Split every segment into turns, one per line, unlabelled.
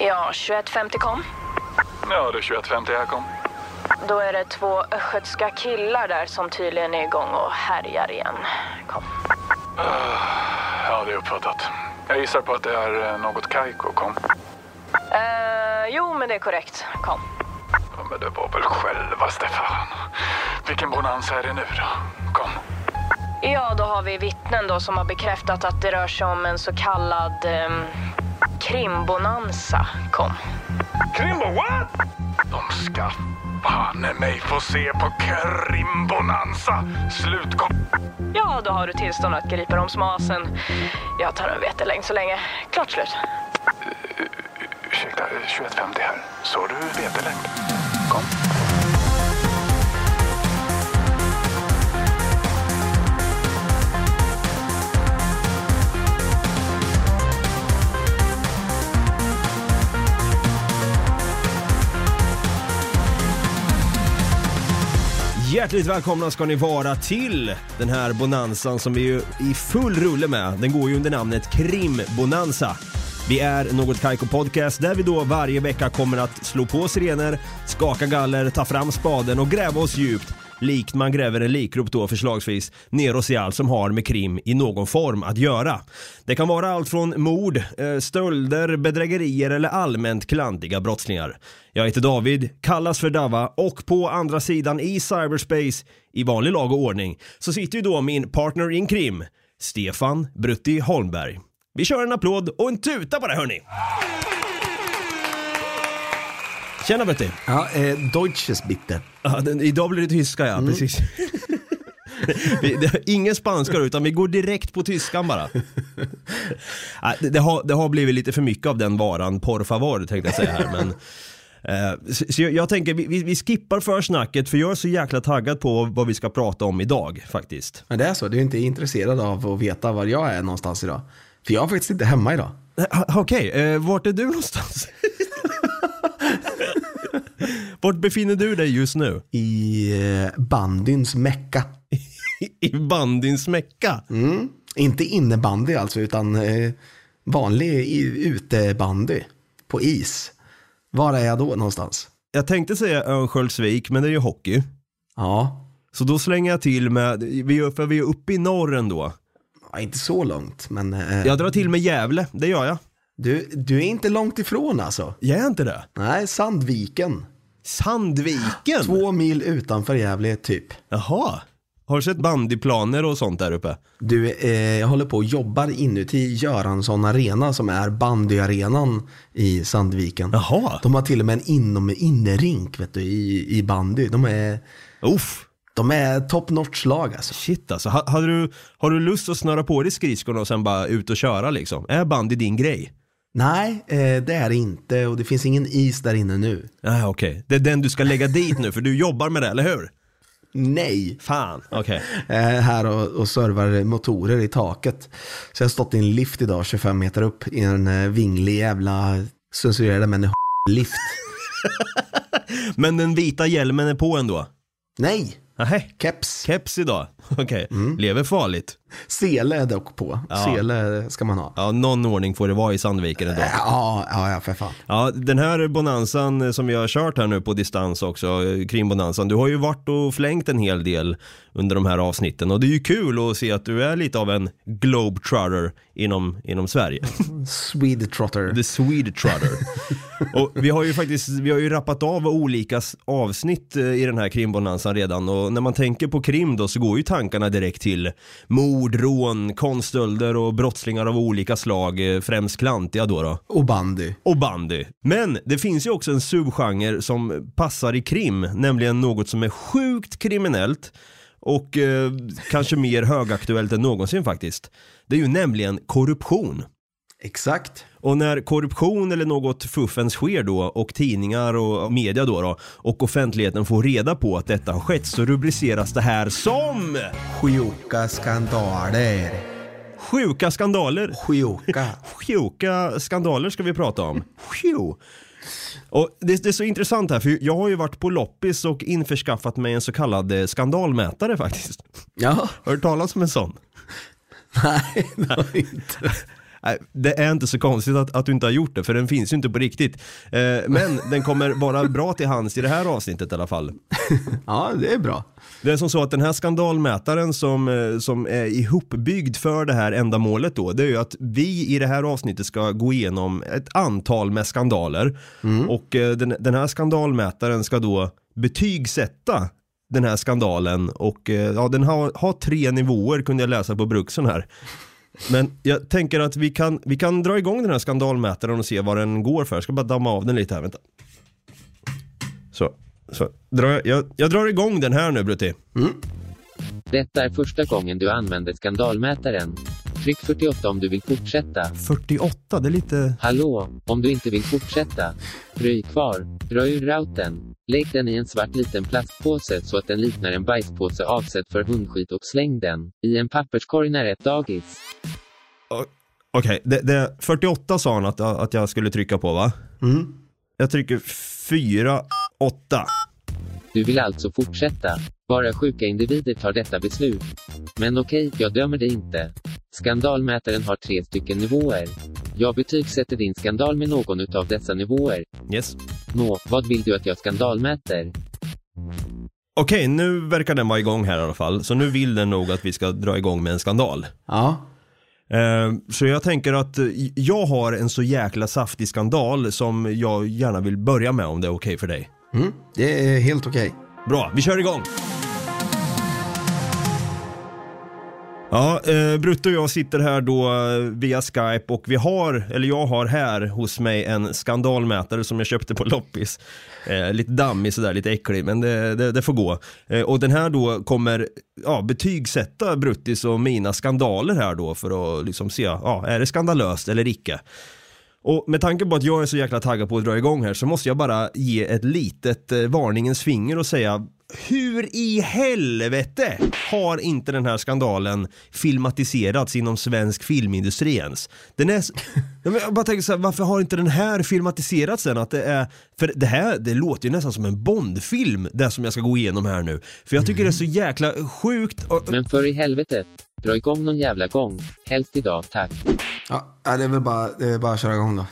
Ja, 21.50 kom.
Ja, det är 21.50 jag kom.
Då är det två östgötska killar där som tydligen är igång och härjar igen. Kom.
Ja, det är uppfattat. Jag gissar på att det är eh, något Kaiko kom.
Eh, jo, men det är korrekt. Kom.
Ja, Men det var väl själva Stefan. Vilken bonanza är det nu då? Kom.
Ja, då har vi vittnen då som har bekräftat att det rör sig om en så kallad ehm, krimbonanza. Kom.
Krimbo, what? De ska fan i mig få se på krimbonanza. Slut kom.
Ja, då har du tillstånd att gripa dem som asen. Jag tar en vetelängd så länge. Klart slut.
Ursäkta, eh, 21.50 här. Så du vetelängd? Kom.
Hjärtligt välkomna ska ni vara till den här bonanzan som vi är ju i full rulle med. Den går ju under namnet Krimbonanza. Vi är Något Kaiko Podcast där vi då varje vecka kommer att slå på sirener, skaka galler, ta fram spaden och gräva oss djupt. Likt man gräver en likgrop då förslagsvis neråt i allt som har med krim i någon form att göra. Det kan vara allt från mord, eh, stölder, bedrägerier eller allmänt klantiga brottslingar. Jag heter David, kallas för Dava och på andra sidan i cyberspace, i vanlig lag och ordning, så sitter ju då min partner in krim, Stefan Brutti Holmberg. Vi kör en applåd och en tuta på det hörni! Tjena Brutti!
Ja, eh, Deutsches bitte.
Ja, den, idag blir det tyska ja, precis. Vi, det, ingen spanska då, utan vi går direkt på tyskan bara. Ja, det, det, har, det har blivit lite för mycket av den varan, por favor tänkte jag säga här. Men, eh, så, så jag, jag tänker vi, vi- vi skippar försnacket för jag är så jäkla taggad på vad vi ska prata om idag faktiskt.
Men det är så, du är inte intresserad av att veta var jag är någonstans idag. För jag är faktiskt inte hemma idag.
Eh, Okej, eh, vart är du någonstans? vart befinner du dig just nu?
I eh, bandyns mecka.
I, i bandins Mecka?
Mm. Inte innebandy alltså, utan eh, vanlig i- utebandy på is. Var är jag då någonstans?
Jag tänkte säga Örnsköldsvik, men det är ju hockey.
Ja,
Så då slänger jag till med, vi är, för vi är uppe i norr ändå.
ja, inte så långt, men eh,
Jag drar till med Gävle, det gör jag.
du, du är inte långt ifrån alltså.
Jag är inte det.
Nej, Sandviken.
Sandviken!
Två mil utanför Gävle, typ.
Jaha. Har du sett bandyplaner och sånt där uppe?
Du, eh, jag håller på och jobbar inuti Göransson Arena som är bandyarenan i Sandviken.
Jaha.
De har till och med en inom innerink vet du, i, i bandy. De är,
Uff.
de är top notch lag alltså.
Shit alltså, ha, hade du, har du lust att snöra på dig skridskorna och sen bara ut och köra liksom? Är bandy din grej?
Nej, eh, det är det inte och det finns ingen is där inne nu.
Nej okej, det är den du ska lägga dit nu för du jobbar med det, eller hur?
Nej,
Fan, okej.
eh, här och, och servar motorer i taket. Så jag har stått i en lift idag 25 meter upp i en eh, vinglig jävla censurerade men lift.
Men den vita hjälmen är på ändå?
Nej,
Nähä,
keps.
keps idag. Okej, lever farligt.
Sele är dock på. Sele ska man ha.
Ja, någon ordning får det vara i Sandviken ändå.
Ja, ja, ja för fan.
Ja, den här bonansan eh, som jag har kört här nu på distans också, eh, kring bonansan, du har ju varit och flängt en hel del under de här avsnitten och det är ju kul att se att du är lite av en globetrotter inom, inom Sverige.
Swedetrotter.
The Swedetrotter. och vi har ju faktiskt, vi har ju rappat av olika s- avsnitt eh, i den här krimbonanzan redan och när man tänker på krim då så går ju tankarna direkt till mord, rån, konststölder och brottslingar av olika slag, eh, främst klantiga då då
Och bandy.
och bandy. Men det finns ju också en subgenre som passar i krim, nämligen något som är sjukt kriminellt och eh, kanske mer högaktuellt än någonsin faktiskt. Det är ju nämligen korruption.
Exakt.
Och när korruption eller något fuffens sker då och tidningar och media då, då och offentligheten får reda på att detta har skett så rubriceras det här som
Sjuka skandaler.
sjuka skandaler.
Sjuka.
sjuka skandaler ska vi prata om. Phew. Och det, det är så intressant här, för jag har ju varit på loppis och införskaffat mig en så kallad eh, skandalmätare faktiskt.
Ja.
Har du hört talas om en sån?
Nej, det var inte.
Nej, Det är inte så konstigt att, att du inte har gjort det, för den finns ju inte på riktigt. Eh, Men den kommer vara bra till hands i det här avsnittet i alla fall.
Ja, det är bra.
Det är som så att den här skandalmätaren som, eh, som är ihopbyggd för det här ändamålet då, det är ju att vi i det här avsnittet ska gå igenom ett antal med skandaler. Och eh, den, den här skandalmätaren ska då betygsätta den här skandalen och eh, ja, den har, har tre nivåer kunde jag läsa på Bruxen här. Men jag tänker att vi kan, vi kan dra igång den här skandalmätaren och se vad den går för. Jag ska bara damma av den lite här, vänta. Så, så drar jag, jag, jag drar igång den här nu Brutti.
Detta är första gången du använder skandalmätaren. Tryck 48 om du vill fortsätta.
48, det är lite...
Hallå, om du inte vill fortsätta. Röj kvar. Dra ur routern. Lägg den i en svart liten plastpåse så att den liknar en bajspåse avsedd för hundskit och släng den i en papperskorg nära ett dagis.
Okej, det, det, 48 sa han att, att jag skulle trycka på va?
Mm.
Jag trycker 4, 8.
Du vill alltså fortsätta. Bara sjuka individer tar detta beslut. Men okej, jag dömer dig inte. Skandalmätaren har tre stycken nivåer. Jag betygsätter din skandal med någon utav dessa nivåer.
Yes.
Nå, vad vill du att jag skandalmäter?
Okej, nu verkar den vara igång här i alla fall. Så nu vill den nog att vi ska dra igång med en skandal.
Ja,
Eh, Så jag tänker att eh, jag har en så jäkla saftig skandal som jag gärna vill börja med om det är okej för dig.
mm. det är helt okej.
Bra, vi kör igång! Ja, eh, Brutte och jag sitter här då eh, via Skype och vi har, eller jag har här hos mig en skandalmätare som jag köpte på loppis. Eh, lite dammig sådär, lite äcklig, men det, det, det får gå. Eh, och den här då kommer ja, betygsätta Bruttis och mina skandaler här då för att liksom se, ja, är det skandalöst eller icke? Och med tanke på att jag är så jäkla taggad på att dra igång här så måste jag bara ge ett litet eh, varningens finger och säga hur i helvete har inte den här skandalen filmatiserats inom svensk filmindustri ens? Den är... s- Ja, men Jag bara tänker så här, varför har inte den här filmatiserats än? Att det är... För det här, det låter ju nästan som en Bondfilm, det som jag ska gå igenom här nu. För jag tycker det är så jäkla sjukt och
Men för i helvete, dra igång någon jävla gång. Helst idag, tack.
Ja, ja, det är väl bara, det är bara att köra igång då.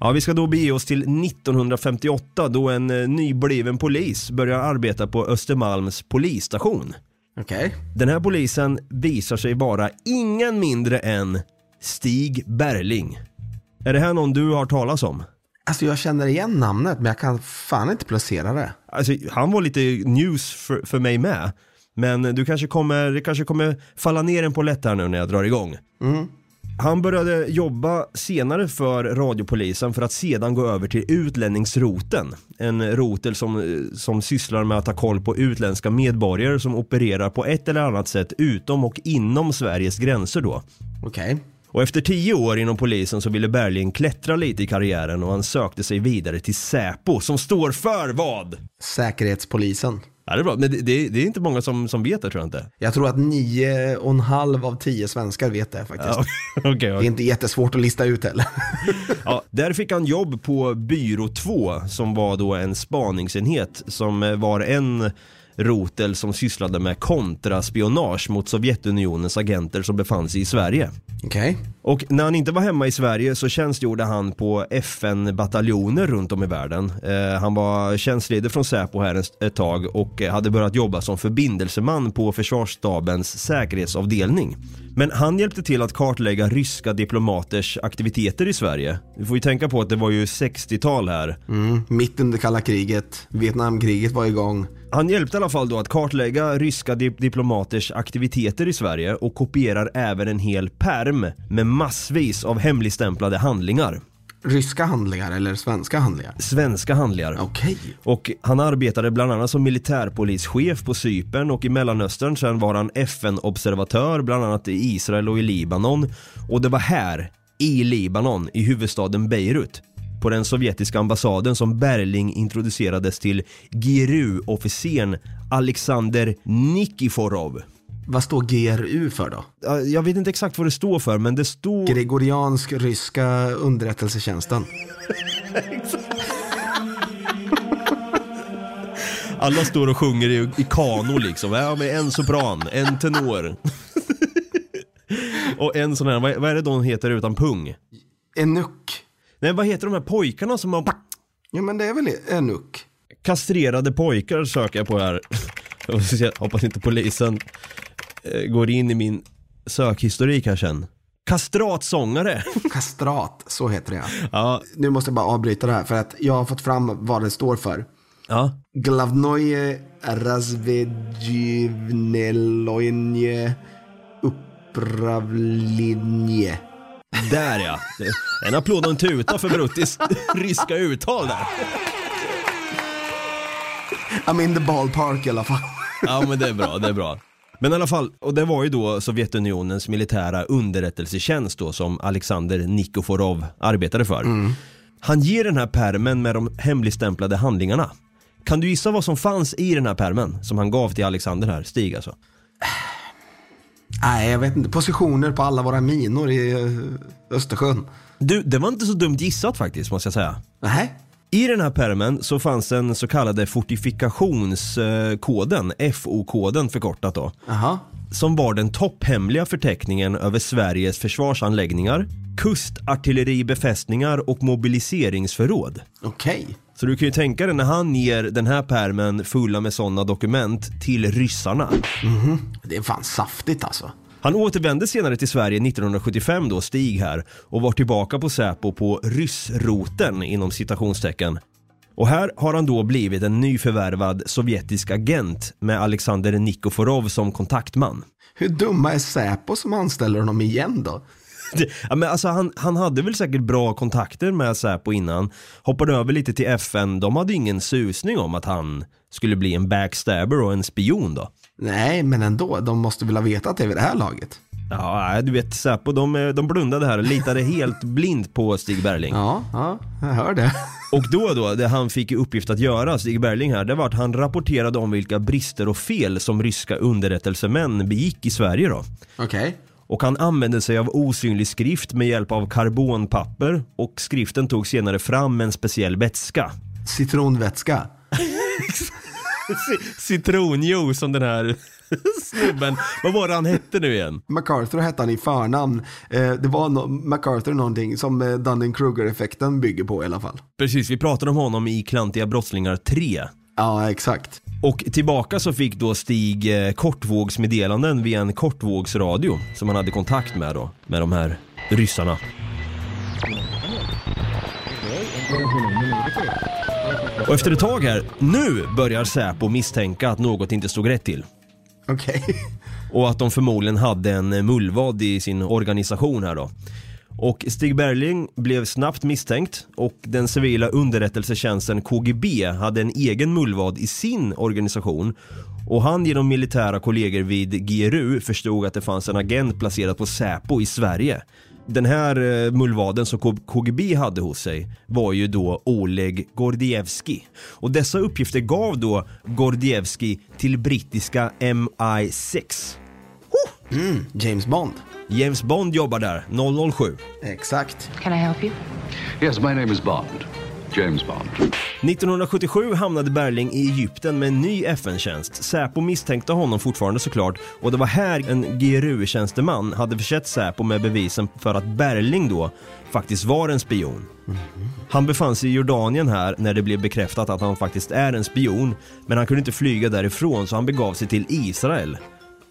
Ja, vi ska då bege oss till 1958 då en eh, nybliven polis börjar arbeta på Östermalms polisstation.
Okej.
Den här polisen visar sig vara ingen mindre än Stig Berling. Är det här någon du har hört talas om?
Alltså jag känner igen namnet men jag kan fan inte placera det.
Alltså, han var lite news för, för mig med. Men du kanske kommer, det kanske kommer falla ner en polett här nu när jag drar igång. Han började jobba senare för radiopolisen för att sedan gå över till utlänningsroten. En rotel som, eh, som sysslar med att ha koll på utländska medborgare som opererar på ett eller annat sätt utom och inom Sveriges gränser då.
Okej.
Och efter tio år inom polisen så ville Berling klättra lite i karriären och han sökte sig vidare till Säpo som står för vad?
Säkerhetspolisen.
Ja, det är bra. Men det, det, det är inte många som, som vet det tror jag inte.
Jag tror att nio och en halv av tio svenskar vet det faktiskt.
Ja, okej,
Det är
okej.
inte jättesvårt att lista ut heller.
ja, där fick han jobb på Byrå 2 som var då en spaningsenhet som eh, var en rotel som sysslade med kontraspionage mot Sovjetunionens agenter som befann sig i Sverige.
Okej.
Och när han inte var hemma i Sverige så tjänstgjorde han på FN-bataljoner runt om i världen. Eh, han var tjänstledig från Säpo här en- ett tag och eh, hade börjat jobba som förbindelseman på försvarsstabens säkerhetsavdelning. Men han hjälpte till att kartlägga ryska diplomaters aktiviteter i Sverige. Vi får ju tänka på att det var ju 60-tal här.
Mm. Mitt under kalla kriget. Vietnamkriget var igång.
Han hjälpte i alla fall då att kartlägga ryska di- diplomaters aktiviteter i Sverige och kopierar även en hel perm med massvis av hemligstämplade handlingar.
Ryska handlingar eller svenska handlingar?
svenska handlingar.
Okej.
Och han arbetade bland annat som militärpolischef på Cypern och i Mellanöstern. Sen var han FN-observatör bland annat i Israel och i Libanon. Och det var här, i Libanon, i huvudstaden Beirut, på den sovjetiska ambassaden som Berling introducerades till GRU-officeren Alexander Nikiforov.
Vad står GRU för då?
Ja, Jag vet inte exakt vad det står för, men det står...
Gregoriansk ryska underrättelsetjänsten.
Alla står och sjunger i, i kano liksom. Ja, men en sopran, en tenor. Och en sån här, vad, vad är det de heter utan pung?
Enuck.
Nej, vad heter de här pojkarna som har...
Ja men det är väl enuck.
Kastrerade pojkar söker jag på här. Jag måste se, hoppas inte polisen eh, går in i min sökhistorik här sen. Kastratsångare!
Kastrat, så heter det ja.
Ja,
Nu måste jag bara avbryta det här för att jag har fått fram vad det står för.
ja.
Glavnoje razvedjivnelojnje upravlinje.
Där ja. En applåd och en tuta för Bruttis ryska uttal där.
I'm in the ballpark i alla fall.
Ja men det är bra, det är bra. Men i alla fall, och det var ju då Sovjetunionens militära underrättelsetjänst då som Alexander Nikiforov arbetade för. Han ger den här pärmen med de hemligstämplade handlingarna. Kan du gissa vad som fanns i den här pärmen som han gav till Alexander här, Stig alltså?
Nej, jag vet inte. Positioner på alla våra minor i eh, Östersjön.
Du, det var inte så dumt gissat faktiskt måste jag säga.
Nej.
I den här pärmen så fanns den så kallade fortifikationskoden, FO-koden förkortat då.
Jaha.
som var den topphemliga förteckningen över Sveriges försvarsanläggningar, kustartilleribefästningar och mobiliseringsförråd.
Okej.
Så du kan ju tänka dig när han ger den här pärmen fulla med sådana dokument till ryssarna.
Det är fan saftigt alltså.
Han återvände senare till Sverige 1975 då, Stig här, och var tillbaka på Säpo på ryssroten inom citationstecken. Och här har han då blivit en nyförvärvad sovjetisk agent med Alexander Nikoforov som kontaktman.
Hur dumma är Säpo som anställer honom igen då?
Det- Ja, men alltså han, han hade väl säkert bra kontakter med Säpo innan. Hoppade över lite till FN. De hade ingen susning om att han skulle bli en backstabber och en spion då.
Nej, men ändå. De måste väl ha vetat det vid det här laget.
Ja, nej, du vet Säpo, de, eh, de blundade här och litade helt blind på Stig Berling.
Ja, ja, jag hör det.
Och då då, det han fick i uppgift att göra, Stig Berling här, det var att han rapporterade om vilka brister och fel som ryska underrättelsemän begick i Sverige då.
Okej.
och han använde sig av osynlig skrift med hjälp av karbonpapper och skriften tog senare fram med en speciell vätska.
Citronvätska.
C- Citronjuice som den här snubben, vad var det han hette nu igen?
MacArthur hette han i förnamn. Eh, det var no- MacArthur någonting som eh, Dunning-Kruger-effekten bygger på i alla fall.
Precis, vi pratade om honom i Klantiga brottslingar 3.
Ja, exakt.
Och tillbaka så fick då Stig eh, kortvågsmeddelanden via en kortvågsradio som han hade kontakt med då, med de här ryssarna. Och efter ett tag här, nu börjar Säpo misstänka att något inte stod rätt till.
Okej.
Och att de förmodligen hade en eh, mullvad i sin organisation här då. Och Stig Berling blev snabbt misstänkt och den civila underrättelsetjänsten KGB hade en egen mullvad i sin organisation. Och han genom militära kollegor vid GRU förstod att det fanns en agent placerad på Säpo i Sverige. Den här eh, mullvaden som K- KGB hade hos sig var ju då Oleg Gordievski. Och dessa uppgifter gav då Gordievski till brittiska MI6.
Mm, James Bond.
James Bond jobbar där, 007.
Exakt.
Can I help you?
Yes, my name is Bond. James Bond.
1977 hamnade Berling i Egypten med en ny FN-tjänst. Säpo misstänkte honom fortfarande såklart och det var här en GRU-tjänsteman hade försett Säpo med bevisen för att Berling då faktiskt var en spion. Han befann sig i Jordanien här när det blev bekräftat att han faktiskt är en spion, men han kunde inte flyga därifrån så han begav sig till Israel.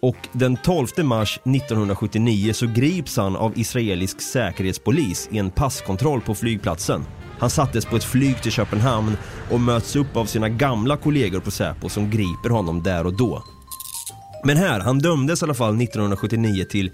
Och den 12 mars 1979 så grips han av israelisk säkerhetspolis i en passkontroll på flygplatsen. Han sattes på ett flyg till Köpenhamn och möts upp av sina gamla kollegor på Säpo som griper honom där och då. Men här, han dömdes i alla fall 1979 till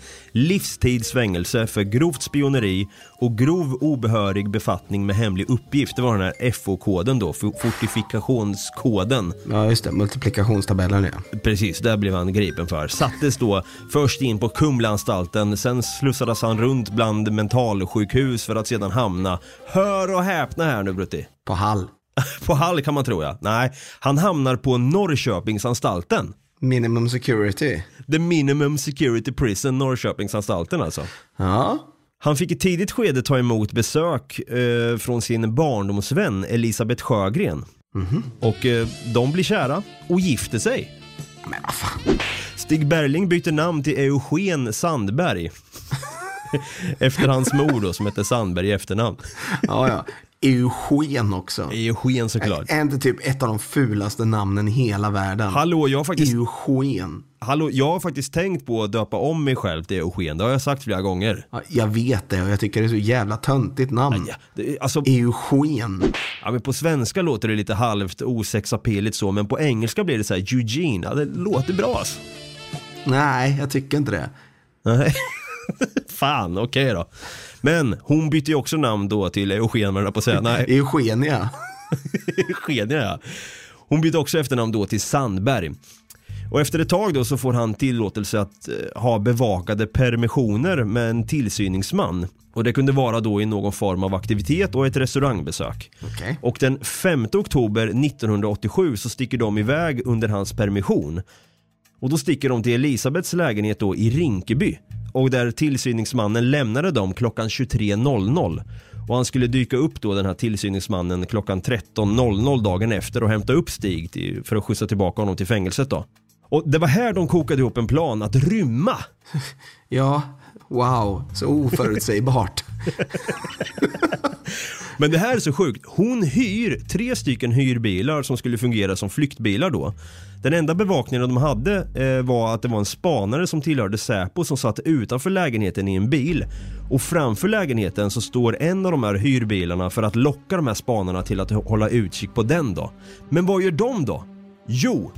livstidsfängelse för grovt spioneri och grov obehörig befattning med hemlig uppgift. Det var den här FO-koden då, for- fortifikationskoden.
Ja, just det. Multiplikationstabellen, ja.
Precis, där blev han gripen för. Sattes då först in på Kumlaanstalten, sen slussades han runt bland mentalsjukhus för att sedan hamna, hör och häpna här nu Brutti,
På Hall.
på Hall kan man tro ja. Nej, han hamnar på Norrköpingsanstalten.
Minimum security.
The Minimum Security Prison, Norrköpingsanstalten alltså.
Ja.
Han fick i tidigt skede ta emot besök eh, från sin barndomsvän Elisabeth
Mhm.
Sjögren. Och eh, de blir kära och gifter sig.
Men vad fan.
Stig Berling bytte namn till Eugen Sandberg. Efter hans mor då, som hette Sandberg i efternamn.
Ja, ja. Eugen också.
Eugen såklart.
Är inte typ ett av de fulaste namnen i hela världen?
Hallå, jag har faktiskt,
Eugen.
hallå, jag har faktiskt tänkt på att döpa om mig själv till Eugen. Det har jag sagt flera gånger.
Ja, jag vet det och jag tycker det är så jävla töntigt namn.
Ja, det, alltså,
Eugen.
ja, men på svenska låter det lite halvt osexapilligt så, men på engelska blir det så här Eugene. Ja, det låter bra alltså.
Nej, jag tycker inte det.
Nej. Fan, okej då. Men hon bytte ju också namn då till Eugen, höll jag på att säga. Nej,
Eugenia.
Eugenia ja. Hon bytte också efternamn då till Sandberg. Och efter ett tag då så får han tillåtelse att eh, ha bevakade permissioner med en tillsyningsman. Och det kunde vara då i någon form av aktivitet och ett restaurangbesök.
Okej.
Och den 5 oktober 1987 så sticker de iväg under hans permission. Och då sticker de till Elisabeths lägenhet då i Rinkeby. Och där tillsyningsmannen lämnade dem klockan 23.00. Och han skulle dyka upp då den här tillsyningsmannen klockan 13.00 dagen efter och hämta upp Stig till, för att skjutsa tillbaka honom till fängelset då. Och det var här de kokade ihop en plan att rymma.
Ja, wow. Så oförutsägbart.
Men det här är så sjukt. Hon hyr tre stycken hyrbilar som skulle fungera som flyktbilar då. Den enda bevakningen de hade eh, var att det var en spanare som tillhörde Säpo som satt utanför lägenheten i en bil. Och framför lägenheten så står en av de här hyrbilarna för att locka de här spanarna till att hålla utkik på den då. Men vad gör de då? Jo,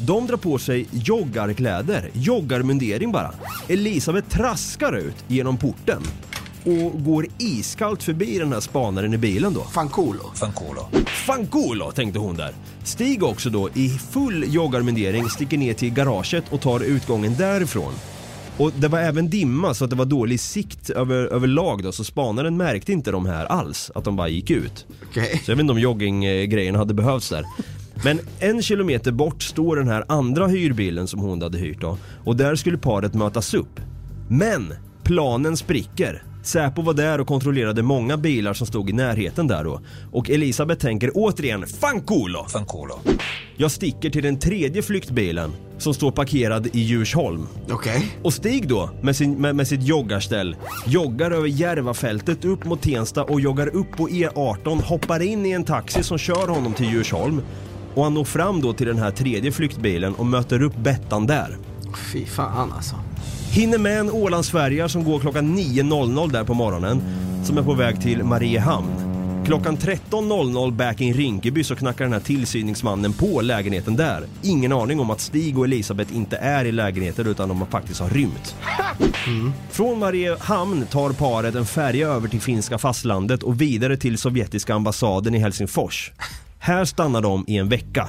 de drar på sig joggarkläder, joggarmundering bara. Elisabeth traskar ut genom porten och går iskallt förbi den här spanaren i bilen då.
Fan coolo.
Fanculo, tänkte hon där. Stig också då i full joggarmundering sticker ner till garaget och tar utgången därifrån. Och det var även dimma så att det var dålig sikt över, överlag då så spanaren märkte inte de här alls, att de bara gick ut.
Okej.
Så jag vet inte om jogginggrejen hade behövts där. Men en kilometer bort står den här andra hyrbilen som hon hade hyrt då. Och där skulle paret mötas upp. Men planen spricker. Säpo var där och kontrollerade många bilar som stod i närheten där då. Och Elisabeth tänker återigen Fanculo! Jag sticker till den tredje flyktbilen som står parkerad i Djursholm.
Okej.
Och Stig då, med, sin, med, med sitt joggarställ, joggar över Järvafältet upp mot Tensta och joggar upp på E18, hoppar in i en taxi som kör honom till Djursholm. Och han når fram då till den här tredje flyktbilen och möter upp Bettan där.
Fy fan alltså.
Hinner med en Ålandsfärja som går klockan 9.00 där på morgonen, som är på väg till Mariehamn. Klockan 13.00 back in Rinkeby så knackar den här tillsyningsmannen på lägenheten där. Ingen aning om att Stig och Elisabeth inte är i lägenheten utan de har faktiskt har rymt. Mm. Från Mariehamn tar paret en färja över till finska fastlandet och vidare till sovjetiska ambassaden i Helsingfors. Här stannar de i en vecka.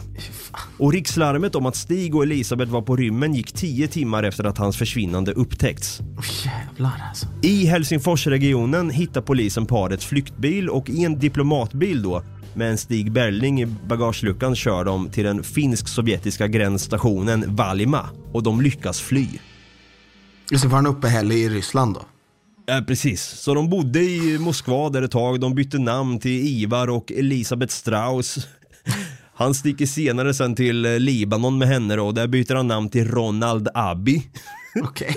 Och rikslarmet om att Stig och Elisabeth var på rymmen gick tio timmar efter att hans försvinnande upptäckts.
Åh, jävlar alltså.
I Helsingforsregionen hittar polisen parets flyktbil och i en diplomatbil då med en Stig Berling i bagageluckan kör de till den finsk-sovjetiska gränsstationen Valima och de lyckas fly.
Och så var han uppehälle i Ryssland då.
Ja, precis. Så de bodde i Moskva där ett tag, de bytte namn till Ivar och Elisabeth Strauss. Han sticker senare sen till eh, Libanon med henne då, och där byter han namn till Ronald Abbey.
Okej.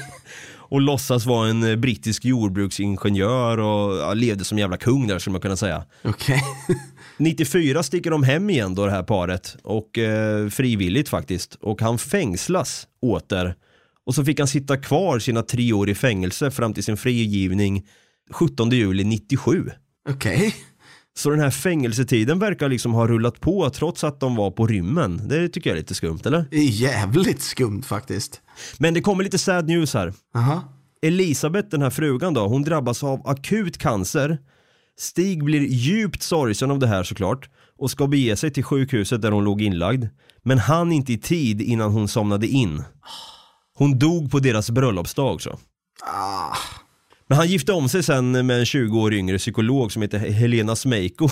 Och låtsas vara en eh, brittisk jordbruksingenjör och ja, levde som jävla kung där skulle man kunna säga.
Okej.
94 sticker de hem igen då det här paret och eh, frivilligt faktiskt och han fängslas åter och så fick han sitta kvar sina tre år i fängelse fram till sin frigivning 17 juli 97.
Okej.
Så den här fängelsetiden verkar liksom ha rullat på trots att de var på rymmen. Det tycker jag är lite skumt eller?
Det är jävligt skumt faktiskt.
Men det kommer lite sad news här.
Aha.
Elisabeth, den här frugan då, hon drabbas av akut cancer. Stig blir djupt sorgsen av det här såklart och ska bege sig till sjukhuset där hon låg inlagd. Men han inte i tid innan hon somnade in. Hon dog på deras bröllopsdag också.
Ah.
Men han gifte om sig sen med en 20 år yngre psykolog som heter Helena Smeiko.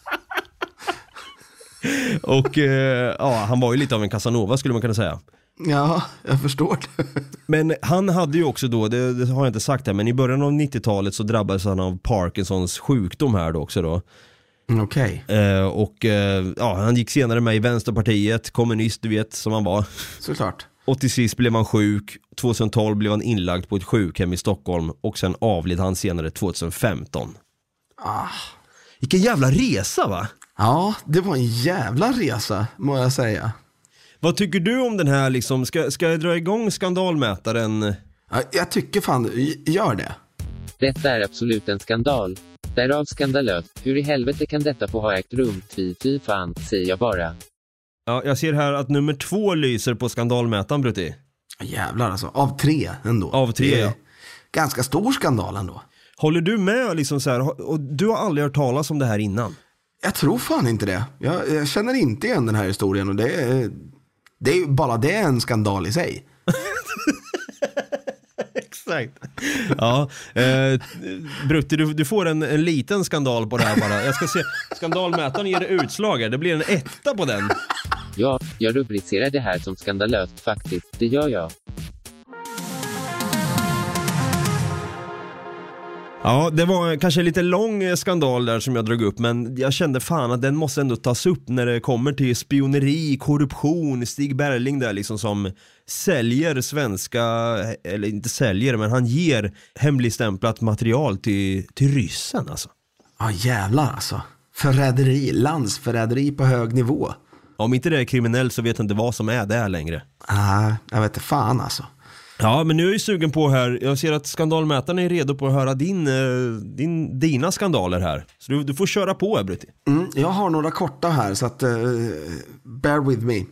och eh, ja, han var ju lite av en Casanova skulle man kunna säga.
Ja, jag förstår det.
Men han hade ju också då, det, det har jag inte sagt här, men i början av 90-talet så drabbades han av Parkinsons sjukdom här då också då.
Mm, Okej.
Eh, och eh, ja, han gick senare med i Vänsterpartiet, kommunist du vet som han var.
Såklart.
Och till sist blev han sjuk, 2012 blev han inlagd på ett sjukhem i Stockholm och sen avled han senare 2015.
Ah.
Vilken jävla resa va?
Ja, det var en jävla resa må jag säga.
Vad tycker du om den här liksom, ska, ska jag dra igång skandalmätaren?
Ja, Jag tycker fan, g- gör det.
Detta är absolut en skandal. Därav skandalöst. Hur i helvete kan detta få ha ägt rum? Fy, fy fan, säger jag bara.
Ja, jag ser här att nummer två lyser på skandalmätaren Brutti.
Jävlar alltså, av tre ändå.
Av tre,
Det är
ja.
Ganska stor skandal ändå.
Håller du med liksom så här, och du har aldrig hört talas om det här innan?
Jag tror fan inte det. Jag, jag känner inte igen den här historien och det är, det är ju bara det är en skandal i sig.
Exakt. Ja, eh, Brutti, du, du får en, en liten skandal på det här bara. Jag ska se, skandalmätaren ger utslag här. Det blir en etta på den.
Ja, jag rubricerar det här som skandalöst faktiskt. Det gör jag.
Ja, det var kanske en lite lång eh, skandal där som jag drog upp, men jag kände fan att den måste ändå tas upp när det kommer till spioneri, korruption, Stig Berling där liksom som säljer svenska, eller inte säljer, men han ger hemligstämplat material till, till ryssen alltså.
Ja jävlar alltså. Förräderi, landsförräderi på hög nivå.
Om inte det är kriminellt så vet jag inte vad som är det längre.
Ah, jag vet inte fan alltså.
Ja, men nu är jag ju sugen på här, jag ser att skandalmätaren är redo på att höra din, eh, din, dina skandaler här. Så du, du får köra på här Brutti.
Mm, jag har några korta här så att eh, bear with me.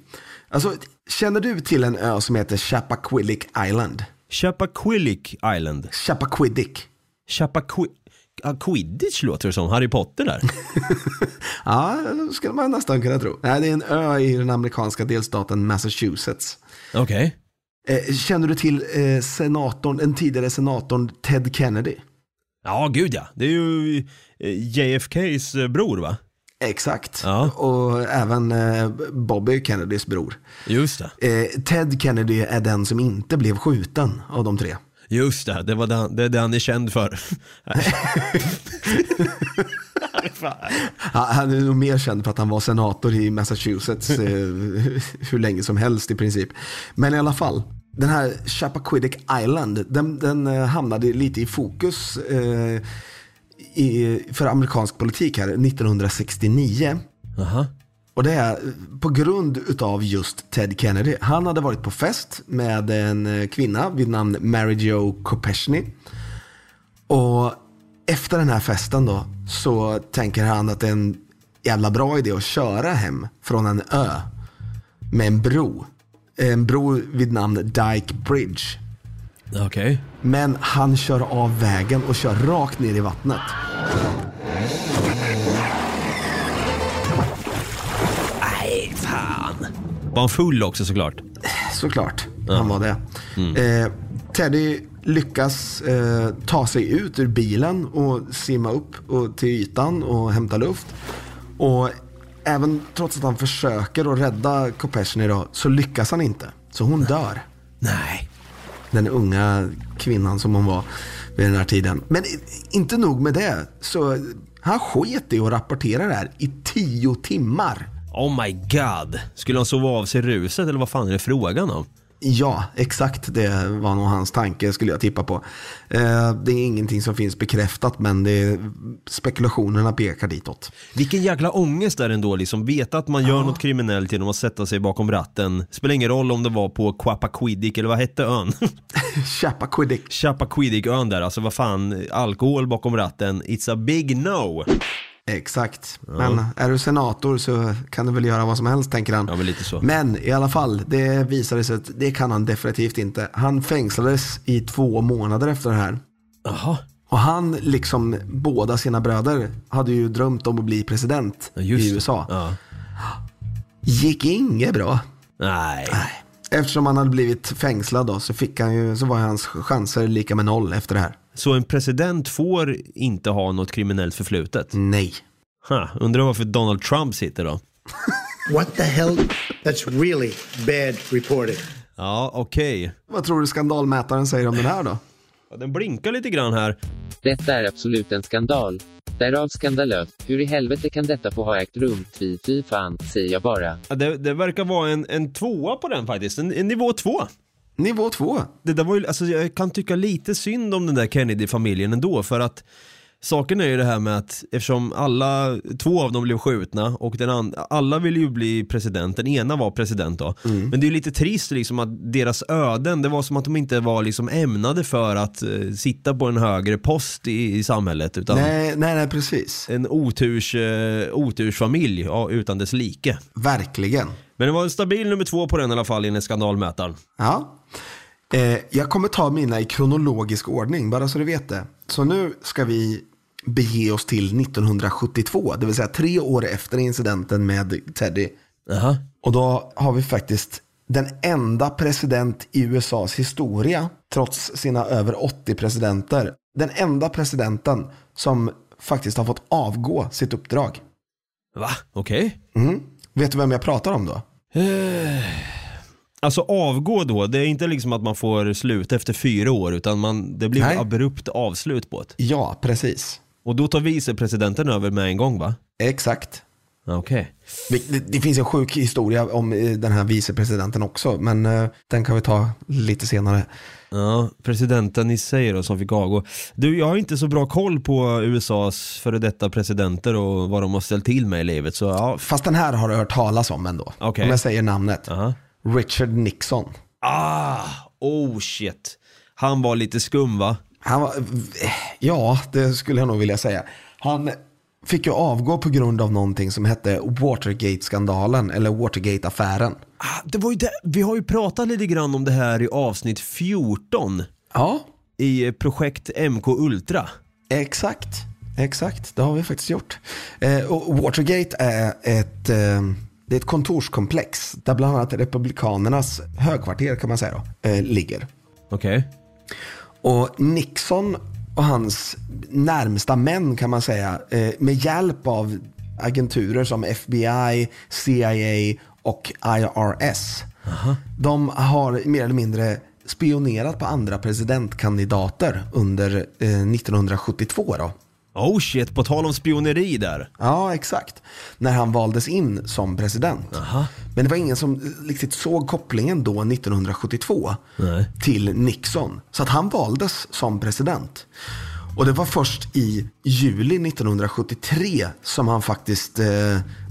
Alltså, känner du till en ö som heter Chappaquiddick Island?
Chappaquiddick Island.
Chappaquiddick.
Chappaquiddick? Quidditch låter det som, Harry Potter där.
Ja, det skulle man nästan kunna tro. Nej, det är en ö i den amerikanska delstaten Massachusetts.
Okej.
Eh, känner du till eh, senatorn, den tidigare senatorn Ted Kennedy?
Ja, gud ja. Det är ju eh, JFKs eh, bror va?
Exakt.
Ja.
Och även eh, Bobby Kennedys bror.
Just det.
Eh, Ted Kennedy är den som inte blev skjuten av de tre.
Just det, det, var det, han, det är det han är känd för.
Ja, Han är nog mer känd för att han var senator i Massachusetts eh, hur länge som helst i princip. Men i alla fall, den här Chappaquiddick Island, den, den eh, hamnade lite i fokus eh, i, för amerikansk politik här 1969.
Aha.
Och det är på grund utav just Ted Kennedy. Han hade varit på fest med en eh, kvinna vid namn Mary Jo Kopechny. Och efter den här festen då så tänker han att det är en jävla bra idé att köra hem från en ö med en bro. En bro vid namn Dyke Bridge.
Okej.
Men han kör av vägen och kör rakt ner i vattnet.
Nej, fan. Var han full också såklart?
Såklart, han var det. Eh, Teddy lyckas eh, ta sig ut ur bilen och simma upp och, till ytan och hämta luft. Och även trots att han försöker att rädda Kopechny då, så lyckas han inte. Så hon dör.
Nej.
Den unga kvinnan som hon var vid den här tiden. Men i- inte nog med det. Så han sket i att rapportera det här i tio timmar.
Oh my god. Skulle han sova av sig ruset eller vad fan är det frågan om?
Ja, exakt det var nog hans tanke skulle jag tippa på. Eh, Det är ingenting som finns bekräftat men det är, spekulationerna pekar ditåt.
Vilken jäkla ångest där ändå liksom, veta att man gör något kriminellt genom att sätta sig bakom ratten. Spelar ingen roll om det var på Quappaquiddick eller vad hette ön?
Chappaquiddick.
Chappaquiddick-ön där, alltså vad fan, alkohol bakom ratten, it's a big no.
Exakt. Men är du senator så kan du väl göra vad som helst tänker han.
Ja, men lite så.
Men i alla fall, det visade sig att det kan han definitivt inte. Han fängslades i två månader efter det här.
Jaha,
Och han, liksom båda sina bröder, hade ju drömt om att bli president
ja, just
i
det.
USA.
Ja.
Gick inget bra.
Nej,
Nej. Eftersom han hade blivit fängslad då, så, fick han ju, så var hans chanser lika med noll efter det här.
så en president får inte ha något kriminellt förflutet?
Nej.
Ha, undrar varför Donald Trump sitter då?
What the hell? That's really bad reporting.
Ja, okej.
Vad tror du skandalmätaren säger om den här då?
Ja, Den blinkar lite grann här.
Detta är absolut en skandal. Därav skandalöst, hur i helvete kan detta få ha ägt rum? Fy, fy fan, säger jag bara.
Ja, Det, det verkar vara en, en tvåa på den faktiskt, en, en nivå två.
Nivå två.
Det där var ju, alltså jag kan tycka lite synd om den där Kennedy-familjen ändå för att Saken är ju det här med att eftersom alla, två av dem blev skjutna och den and, alla ville ju bli president, den ena var president då. Men det är ju lite trist liksom att deras öden, det var som att de inte var liksom ämnade för att eh, sitta på en högre post i, i samhället utan
Nej, nej, nej, precis.
en oturs, eh, otursfamilj ja, utan dess like.
Verkligen.
Men det var en stabil nummer två på den i alla fall enligt skandalmätaren.
Ja. Eh, jag kommer ta mina i kronologisk ordning, bara så du vet det. Så nu ska vi bege oss till 1972, det vill säga tre år efter incidenten med Teddy.
Aha.
Och då har vi faktiskt den enda president i USAs historia, trots sina över 80 presidenter, den enda presidenten som faktiskt har fått avgå sitt uppdrag.
Va? Okej.
Mm. Vet du vem jag pratar om då?
Alltså avgå då, det är inte liksom att man får sluta efter fyra år utan man, det blir
Nej.
ett abrupt avslut på det.
Ja, precis.
Och då tar vicepresidenten över med en gång va?
Exakt.
Okej.
Vi- Det, det finns en sjuk historia om eh, den här vicepresidenten också, men eh, den kan vi ta lite senare.
Ja, presidenten i sig då som fick avgå. Du, jag har inte så bra koll på USAs före detta presidenter och vad de har ställt till med i livet så ja. f-
Fast den här har du hört talas om ändå.
Okej.
Om jag säger namnet.
Aha.
Richard Nixon.
Ah, oh shit. Han var lite skum va?
Han var, eh, ja, det skulle jag nog vilja säga. Han fick ju avgå på grund av någonting som hette Watergate-skandalen, eller Watergate-affären.
Ah, det var ju det. Vi har ju pratat lite grann om det här i avsnitt 14
Ja,
i eh, projekt MK Ultra.
exakt. Exakt, det har vi faktiskt gjort. Eh, och Watergate är ett, eh, det är ett kontorskomplex där bland annat Republikanernas högkvarter kan man säga då, eh, ligger.
Okej.
Och Nixon och hans närmsta män kan man säga, eh, med hjälp av agenturer som FBI, CIA och IRS. De har mer eller mindre spionerat på andra presidentkandidater under eh, 1972. Då.
Oh shit, på tal om spioneri där.
Ja, exakt. När han valdes in som president. Men det var ingen som eh, riktigt såg kopplingen då 1972
Nej.
till Nixon. Så att han valdes som president. Och det var först i juli 1973 som han faktiskt, eh,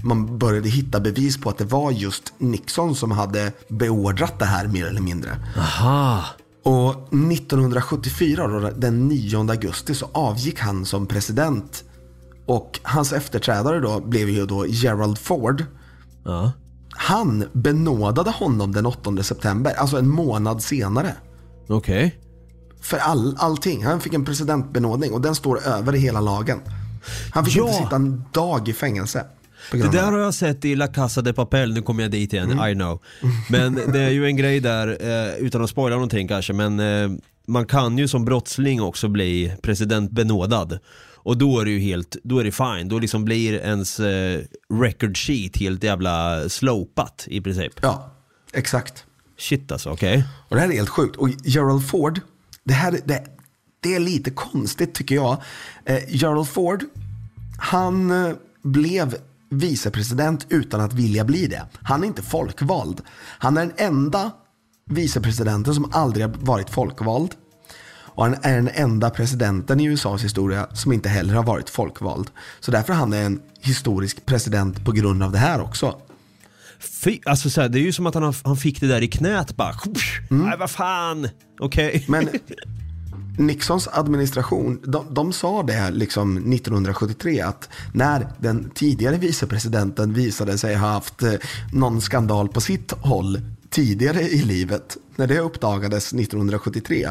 man började hitta bevis på att det var just Nixon som hade beordrat det här mer eller mindre.
Aha.
Och 1974, då, den 9 augusti, så avgick han som president. Och hans efterträdare då blev ju då Gerald Ford.
Ja.
Han benådade honom den 8 september, alltså en månad senare.
Okej.
För all, allting. Han fick en presidentbenådning och den står över hela lagen. Han fick
Ja.
inte sitta en dag i fängelse. på
Det
grund av
där har jag sett i La Casa de Papel, nu kommer jag dit igen,
Mm.
I know. Men det är ju en grej där, eh, utan att spoila någonting kanske, men eh, man kan ju som brottsling också bli presidentbenådad. Och då är det ju helt, då är det fine, då liksom blir ens eh, record sheet helt jävla slopat i princip.
Ja, exakt.
Shit alltså, okej.
Och det här är helt sjukt. Och Gerald Ford, det här det, det är lite konstigt tycker jag. Eh, Gerald Ford, han eh, blev vicepresident utan att vilja bli det. Han är inte folkvald. Han är den enda vicepresidenten som aldrig har varit folkvald. Och han är den enda presidenten i USAs historia som inte heller har varit folkvald. Så därför är han en historisk president på grund av det här också.
Fy, alltså så här, det är ju som att han, han fick det där i knät bara. Nej vad fan, okej.
Mm. Men Nixons administration, de, de sa det liksom 1973 att när den tidigare vicepresidenten visade sig ha haft eh, någon skandal på sitt håll tidigare i livet, när det uppdagades 1973,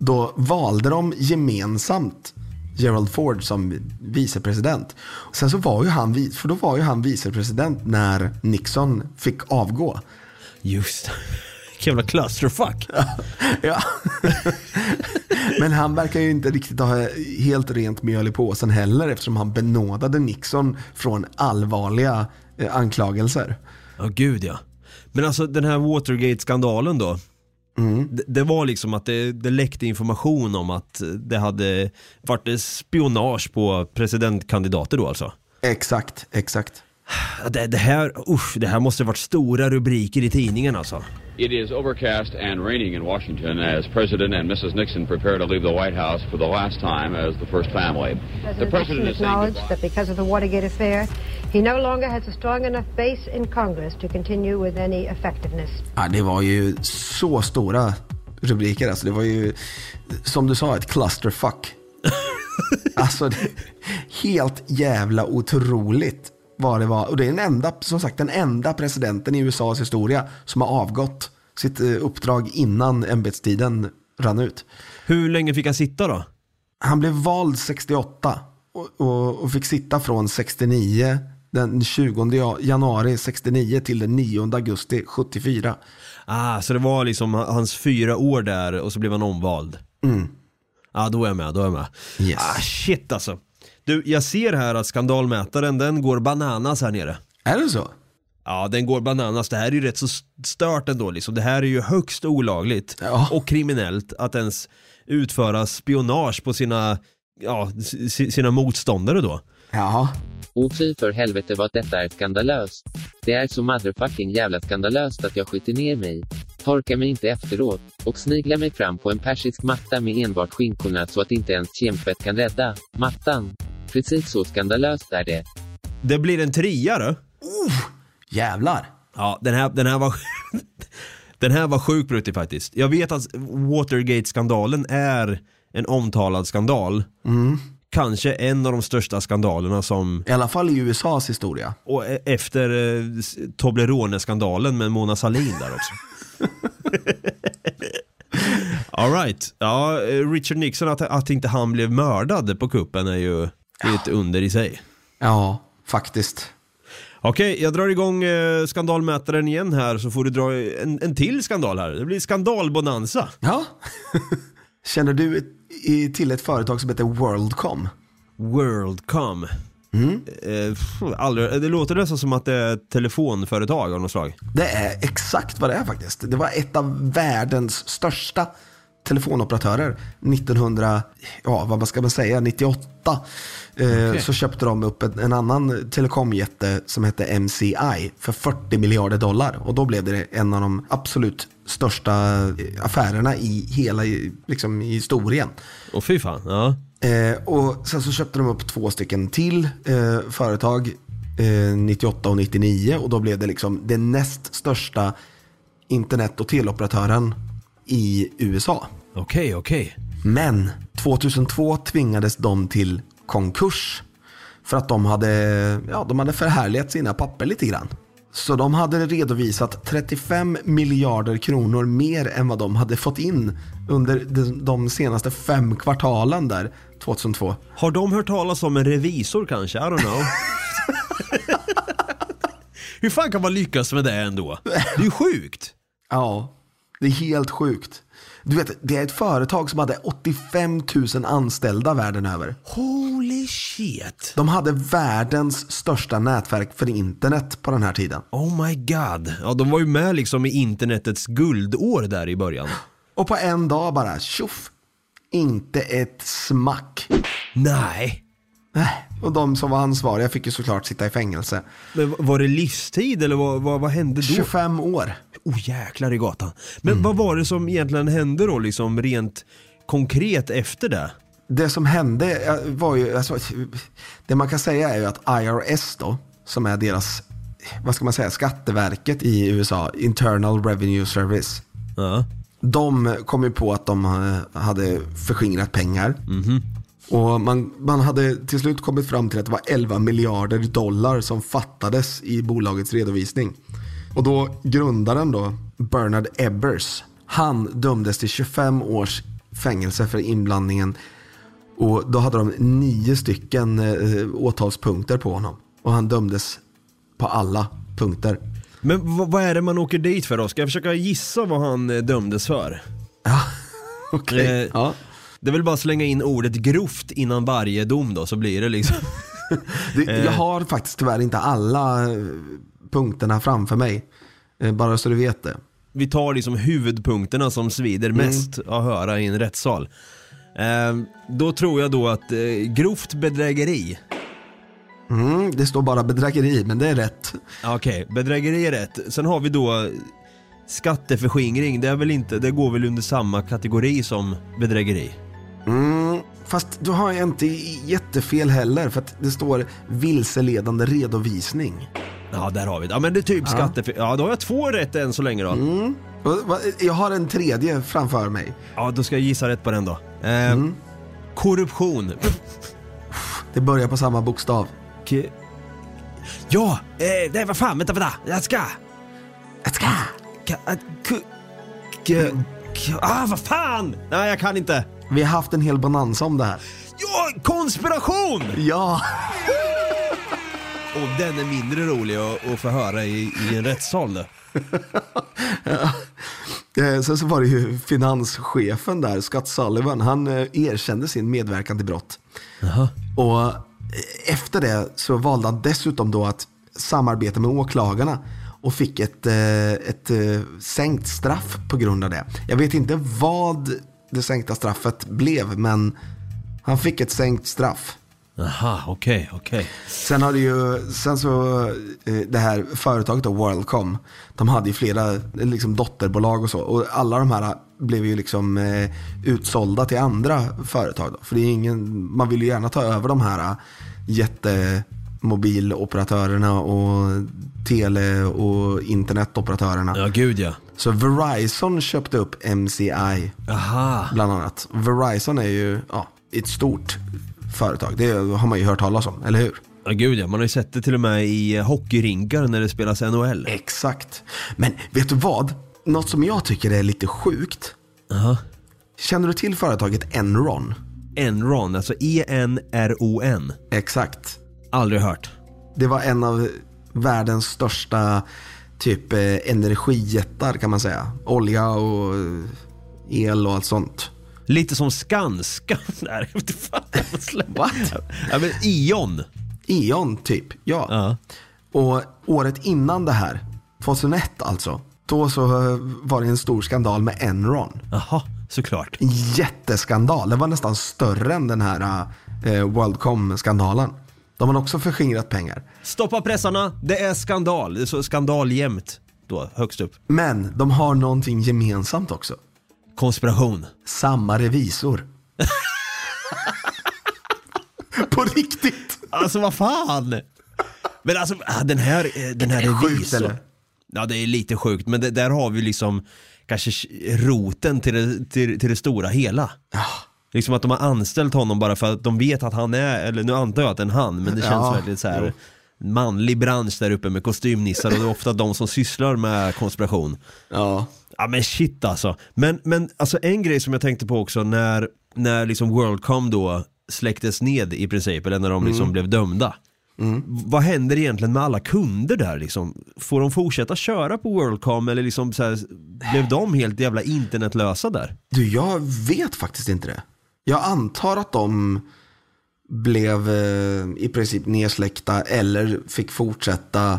då valde de gemensamt Gerald Ford som vicepresident. Sen så var ju han, vi- för då var ju han vicepresident när Nixon fick avgå.
Just det. Vilken jävla clusterfuck.
Ja. Men han verkar ju inte riktigt ha helt rent mjöl i påsen heller eftersom han benådade Nixon från allvarliga eh, anklagelser.
Ja, gud ja. Men alltså den här Watergate-skandalen då. Det, det var liksom att det, det läckte information om att det hade varit spionage på presidentkandidater då alltså.
Exakt, exakt.
Ja, Det, det här, usch, det här måste ha varit stora rubriker i tidningen alltså.
It is overcast and raining in Washington as President and Mrs. Nixon prepare to leave the White House for the last time as the first family. the president is saying
acknowledged
goodbye.
that because of the Watergate affair, he no longer has a strong enough base in Congress to continue with any effectiveness.
Ja, det var ju så stora rubriker. Alltså, det var ju, som du sa, ett clusterfuck. alltså, det, helt jävla otroligt vad det var. Och det är den enda, som sagt, den enda presidenten i USAs historia som har avgått sitt eh, uppdrag innan ämbetstiden rann ut.
Hur länge fick han sitta då?
Han blev vald 68 och, och, och fick sitta från 69, den 20 ja- januari 69 till den 9 augusti 74.
Ah, så det var liksom h- hans fyra år där och så blev han omvald? Mm. ah, då är jag med, då är jag med.
Yes.
Ah, shit alltså. Du, jag ser här att skandalmätaren, den går bananas här nere.
Är det så?
Ja, den går bananas. Det här är ju rätt så stört ändå liksom. Det här är ju högst olagligt
Ja.
och kriminellt att ens utföra spionage på sina, ja, s- s- sina motståndare då.
Ja.
Och fy för helvete vad detta är skandalöst. Det är så motherfucking jävla skandalöst att jag skiter ner mig. Torkar mig inte efteråt och sniglar mig fram på en persisk matta med enbart skinkorna så att inte ens kemtvätt kan rädda mattan. Precis så skandalöst är det.
Det blir en trea då.
Jävlar.
Ja, den här, den här var... den här var sjukt brutig faktiskt. Jag vet att Watergate-skandalen är en omtalad skandal. Kanske en av de största skandalerna som,
I alla fall i USAs historia.
och e- efter eh, s- Toblerone-skandalen med Mona Sahlin där också. All right. Ja, eh, Richard Nixon, att, att inte han blev mördad på kuppen är ju det är ett under i sig.
Ja, faktiskt.
Okej, jag drar igång eh, skandalmätaren igen här så får du dra en, en till skandal här. Det blir skandalbonanza.
Ja. Känner du ett- i- till ett företag som heter Worldcom?
Worldcom. Eh, pff, aldrig, det låter nästan som att det är ett telefonföretag av något slag.
Det är exakt vad det är faktiskt. Det var ett av världens största telefonoperatörer 1900, ja vad ska man säga, 98. Eh, Så köpte de upp en, en annan telekomjätte som hette MCI för 40 miljarder dollar. Och då blev det en av de absolut största eh, affärerna i hela eh, liksom, historien.
Och fy fan, ja.
Eh, och sen så köpte de upp två stycken till eh, företag eh, 98 och 99 och då blev det liksom den näst största internet och teleoperatören i USA.
Okej, okej.
Men 2002 tvingades de till konkurs för att de hade, ja, de hade förhärligat sina papper lite grann. Så de hade redovisat 35 miljarder kronor mer än vad de hade fått in under de- de senaste fem kvartalen där 2002.
Har de hört talas om en revisor kanske? I don't know. Hur fan kan man lyckas med det ändå? Det är ju sjukt.
Ja, det är helt sjukt. Du vet, det är ett företag som hade 85 000 anställda världen över.
Holy shit.
De hade världens största nätverk för internet på den här tiden.
Oh my god. Ja, de var ju med liksom i internetets guldår där i början.
Och på en dag bara tjoff, inte ett smack.
Nej.
Nej. Och de som var ansvariga fick ju såklart sitta i fängelse.
Men v- var det livstid eller vad, vad, vad hände då? Mm.
25 år.
Oh jäklar i gatan. Men vad var det som egentligen hände då liksom rent konkret efter det?
Det som hände eh, var ju, alltså, det man kan säga är ju att IRS då, som är deras, vad ska man säga, Skatteverket i USA, Internal Revenue Service.
Ja.
De kom ju på att de eh, hade förskingrat pengar. Och man, man hade till slut kommit fram till att det var 11 miljarder dollar som fattades i bolagets redovisning. Och då grundaren då, Bernard Ebbers, han dömdes till 25 års fängelse för inblandningen. Och då hade de nio stycken eh, åtalspunkter på honom. Och han dömdes på alla punkter.
Men v- vad är det man åker dit för då? Ska jag försöka gissa vad han eh, dömdes för?
Ja, okej.
Eh,
Ja.
Det är väl bara att slänga in ordet grovt innan varje dom då så blir det liksom.
Det, jag har faktiskt tyvärr inte alla eh, punkterna framför mig. Eh, Bara så du vet det.
vi tar liksom huvudpunkterna som svider mest att höra i en rättssal. Ehm, då tror jag då att eh, grovt bedrägeri,
Mm, det står bara bedrägeri, men det är rätt.
Ja, okej, bedrägeri är rätt. Sen har vi då skatteförskingring, det är väl inte, det går väl under samma kategori som bedrägeri?
Mm, fast du har jag inte jättefel heller, för att det står vilseledande redovisning.
Ja, där har vi det. Ja, men det är typ skattefe... Ja, då har jag två rätt än så länge då.
Och, va, Jag har en tredje framför mig.
Ja, då ska jag gissa rätt på den då. Ehm, Korruption.
Det börjar på samma bokstav.
K- eh, ja, eh, nej vad fan, vänta, vänta. Jag ska...
Ett ska.
Ka- att- ku- k- k- Ah, vad fan! Nej, jag kan inte.
Vi har haft en hel bonanza om det här.
Ja, konspiration!
Ja,
Och den är mindre rolig att, att få höra i, i en rättssal då.
Eh, sen så var det ju finanschefen där, Scott Sullivan, han eh, erkände sin medverkan till brott. Och eh, efter det så valde han dessutom då att samarbeta med åklagarna och fick ett, eh, ett eh, sänkt straff på grund av det. Jag vet inte vad det sänkta straffet blev, men han fick ett sänkt straff.
Aha, okej, okej.
Sen har det ju, sen så, eh, det här företaget då, Worldcom, de hade ju flera eh, liksom, dotterbolag och så. Och alla de här blev ju liksom eh, utsålda till andra företag. Då. För det är ingen, man vill ju gärna ta över de här eh, jättemobiloperatörerna och tele och internetoperatörerna.
Ja, gud ja.
Så Verizon köpte upp MCI
Aha.
bland annat. Verizon är ju ja, ett stort företag. Det har man ju hört talas om, eller hur?
Ja, gud ja. Man har ju sett det till och med i eh, hockeyrinkar när det spelas NHL.
Exakt. Men vet du vad? Något som jag tycker är lite sjukt.
Aha.
Känner du till företaget Enron?
Enron, alltså E-N-R-O-N.
Exakt.
Aldrig hört.
Det var en av världens största typ eh, energijättar kan man säga. Olja och eh, el och allt sånt.
Lite som Skanska. Nej, jag vet inte fan.
What?
Ja, men Ion.
Eon typ, ja.
Ja.
Och året innan det här, 2001 alltså, då så eh, var det en stor skandal med Enron.
Jaha, såklart.
En jätteskandal. Det var nästan större än den här eh, Worldcom-skandalen. De har också förskingrat pengar.
Stoppa pressarna, det är skandal. Det är så skandal jämt. Då, högst upp.
Men de har någonting gemensamt också.
Konspiration.
Samma revisor. På riktigt.
Alltså vad fan! Men alltså ah, den här, eh, den här
Är det sjukt,
revisorn-
eller?
Ja det är lite sjukt men det, där har vi liksom kanske sh- roten till det, till, till det stora hela. Liksom att de har anställt honom bara för att de vet att han är, eller nu antar jag att det är en han, men det känns
Ja,
väldigt så här manlig bransch där uppe med kostymnissar och det är ofta de som sysslar med konspiration.
Ja.
Ja men shit alltså. Men, men alltså en grej som jag tänkte på också när, när liksom Worldcom då släcktes ned i princip, eller när de liksom blev dömda. V- Vad händer egentligen med alla kunder där liksom? Får de fortsätta köra på Worldcom eller liksom så här, blev de helt jävla internetlösa där?
Du, jag vet faktiskt inte det. Jag antar att de blev eh, i princip nedsläckta eller fick fortsätta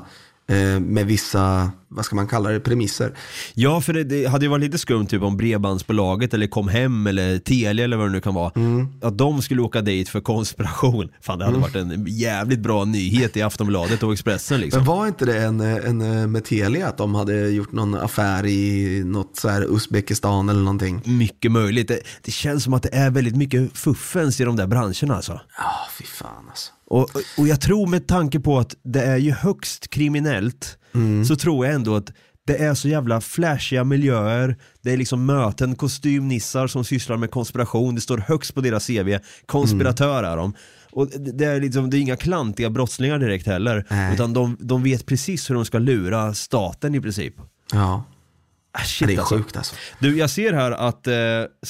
eh, med vissa, vad ska man kalla det, premisser.
Ja, för det, det hade ju varit lite skumt typ om Bredbandsbolaget eller Kom Hem eller Telia eller vad det nu kan vara. Att de skulle åka dit för konspiration. Fan, det hade varit en jävligt bra nyhet i Aftonbladet och Expressen liksom.
Men var inte det en, en med Telia att de hade gjort någon affär i något så här Uzbekistan eller någonting?
Mycket möjligt. Det, det känns som att det är väldigt mycket fuffens i de där branscherna alltså.
Ja, fy fan alltså.
Och, och jag tror med tanke på att det är ju högst kriminellt
Mm.
så tror jag ändå att det är så jävla flashiga miljöer, det är liksom möten, kostymnissar som sysslar med konspiration, det står högst på deras CV, konspiratörer
Mm.
är de. Och det det är, liksom, det är inga klantiga brottslingar direkt heller,
Nej.
utan de, de vet precis hur de ska lura staten i princip.
Ja,
Ah, shit,
det är
alltså.
sjukt alltså.
Du, jag ser här att eh,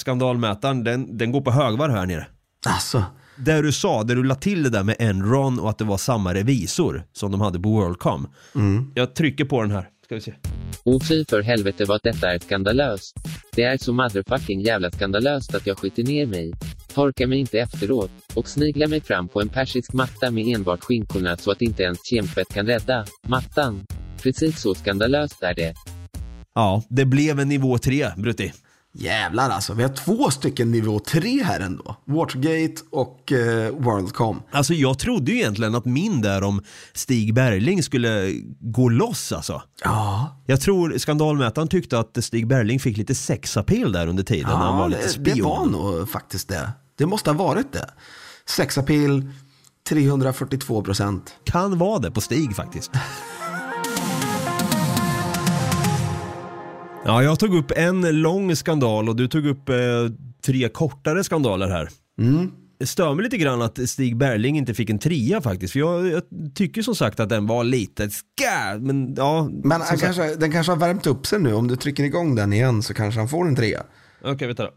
skandalmätaren, den, den går på högvarv här nere.
Alltså,
Där du sa, där du la till det där med Enron och att det var samma revisor som de hade på Worldcom. Jag trycker på den här, ska vi se.
Och fy för helvete vad detta är skandalöst. Det är så motherfucking jävla skandalöst att jag skiter ner mig. Torkar mig inte efteråt och sniglar mig fram på en persisk matta med enbart skinkorna så att inte ens kemtvätt kan rädda mattan. Precis så skandalöst är det.
Ja, det blev en nivå tre, Brutti.
Jävlar alltså, vi har två stycken nivå tre här ändå. Watergate och eh, Worldcom.
Alltså jag trodde ju egentligen att min där om Stig Bergling skulle gå loss alltså.
Ja,
Jag tror skandalmätaren tyckte att Stig Bergling fick lite sexappeal där under tiden när han var lite
det,
spion.
det var nog faktiskt det. Det måste ha varit det. Sexapil, 342 procent.
Kan vara det på Stig faktiskt. Ja, jag tog upp en lång skandal och du tog upp eh, tre kortare skandaler här. Det stör mig lite grann att Stig Berling inte fick en trea faktiskt. För jag, jag tycker som sagt att den var lite ska, men ja.
Men
som
han
sagt-
kanske, den kanske har värmt upp sig nu. Om du trycker igång den igen så kanske han får en trea.
Okej, vänta då.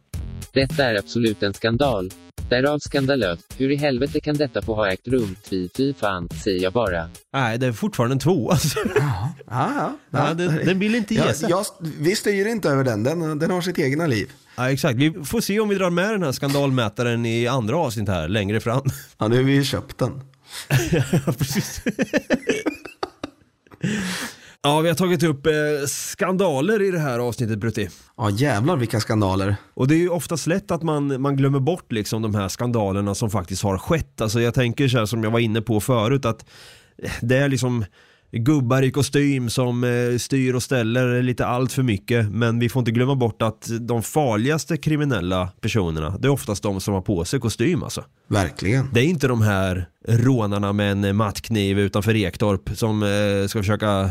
Detta är absolut en skandal. Därav skandalöst. Hur i helvete kan detta få ha ägt rum? Fy, fy fan, säger jag bara.
Nej, det är fortfarande en två alltså.
Ja, ja.
Ja, den- den vill inte ge
Ja,
sig.
jag, vi styr inte över den. den. Den har sitt egna liv.
Ja, exakt. Vi får se om vi drar med den här skandalmätaren i andra avsnitt här längre fram.
Ja, nu har vi ju köpt den.
Ja, precis. ja, vi har tagit upp eh, skandaler i det här avsnittet Brutti.
Ja, jävlar vilka skandaler.
Och det är ju oftast lätt att man, man glömmer bort liksom de här skandalerna som faktiskt har skett. Alltså jag tänker så här som jag var inne på förut att det är liksom gubbar i kostym som eh, styr och ställer lite allt för mycket. Men vi får inte glömma bort att de farligaste kriminella personerna, det är oftast de som har på sig kostym alltså.
Verkligen.
Det är inte de här rånarna med en mattkniv utanför Ektorp som eh, ska försöka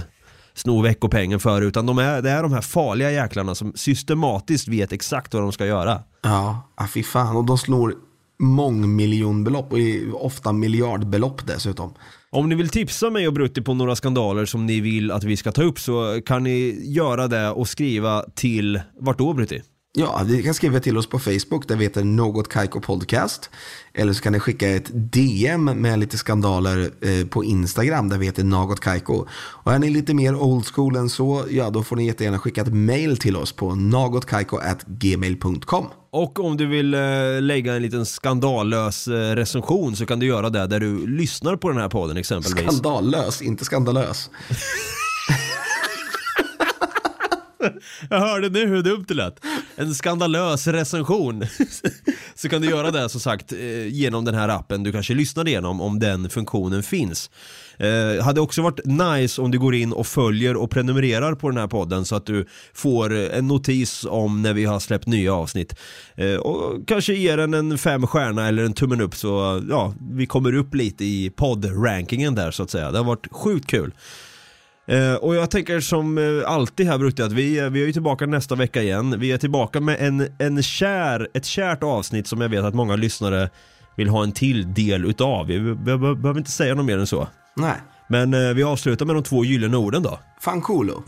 sno veckopengen för utan de är, det är de här farliga jäklarna som systematiskt vet exakt vad de ska göra.
Ja, ah, fy fan. Och de slår mångmiljonbelopp och i- ofta miljardbelopp dessutom.
Om ni vill tipsa mig och Brutti på några skandaler som ni vill att vi ska ta upp så kan ni göra det och skriva till, vart då Brutti?
Ja, ni kan skriva till oss på Facebook där vi heter Något Kaiko Podcast. Eller så kan ni skicka ett DM med lite skandaler eh, på Instagram där vi heter Något Kaiko. Och är ni lite mer old school än så, ja då får ni jättegärna skicka ett mail till oss på nagotkaiko.gmail.com.
Och om du vill eh, lägga en liten skandallös eh, recension så kan du göra det där du lyssnar på den här podden exempelvis.
Skandallös, inte skandalös.
Jag hörde nu hur dumt det lät. En skandalös recension. Så kan du göra det som sagt eh, genom den här appen du kanske lyssnar igenom om den funktionen finns. Eh, hade också varit nice om du går in och följer och prenumererar på den här podden så att du får eh, en notis om när vi har släppt nya avsnitt. Eh, och kanske ger den en fem stjärna eller en tummen upp så eh, ja, vi kommer upp lite i poddrankingen där så att säga. Det har varit sjukt kul. Eh, och jag tänker som eh, alltid här Brutti att vi, eh, vi är ju tillbaka nästa vecka igen. Vi är tillbaka med en, en kär, ett kärt avsnitt som jag vet att många lyssnare vill ha en till del utav. Vi be- be- behöver inte säga något mer än så.
Nej,
Men eh, vi avslutar med de två gyllene orden då.
fan coolo.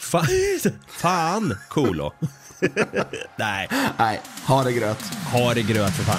Fan, fan Kolo. Nej,
Nej, ha det gröt.
ha det gröt för fan.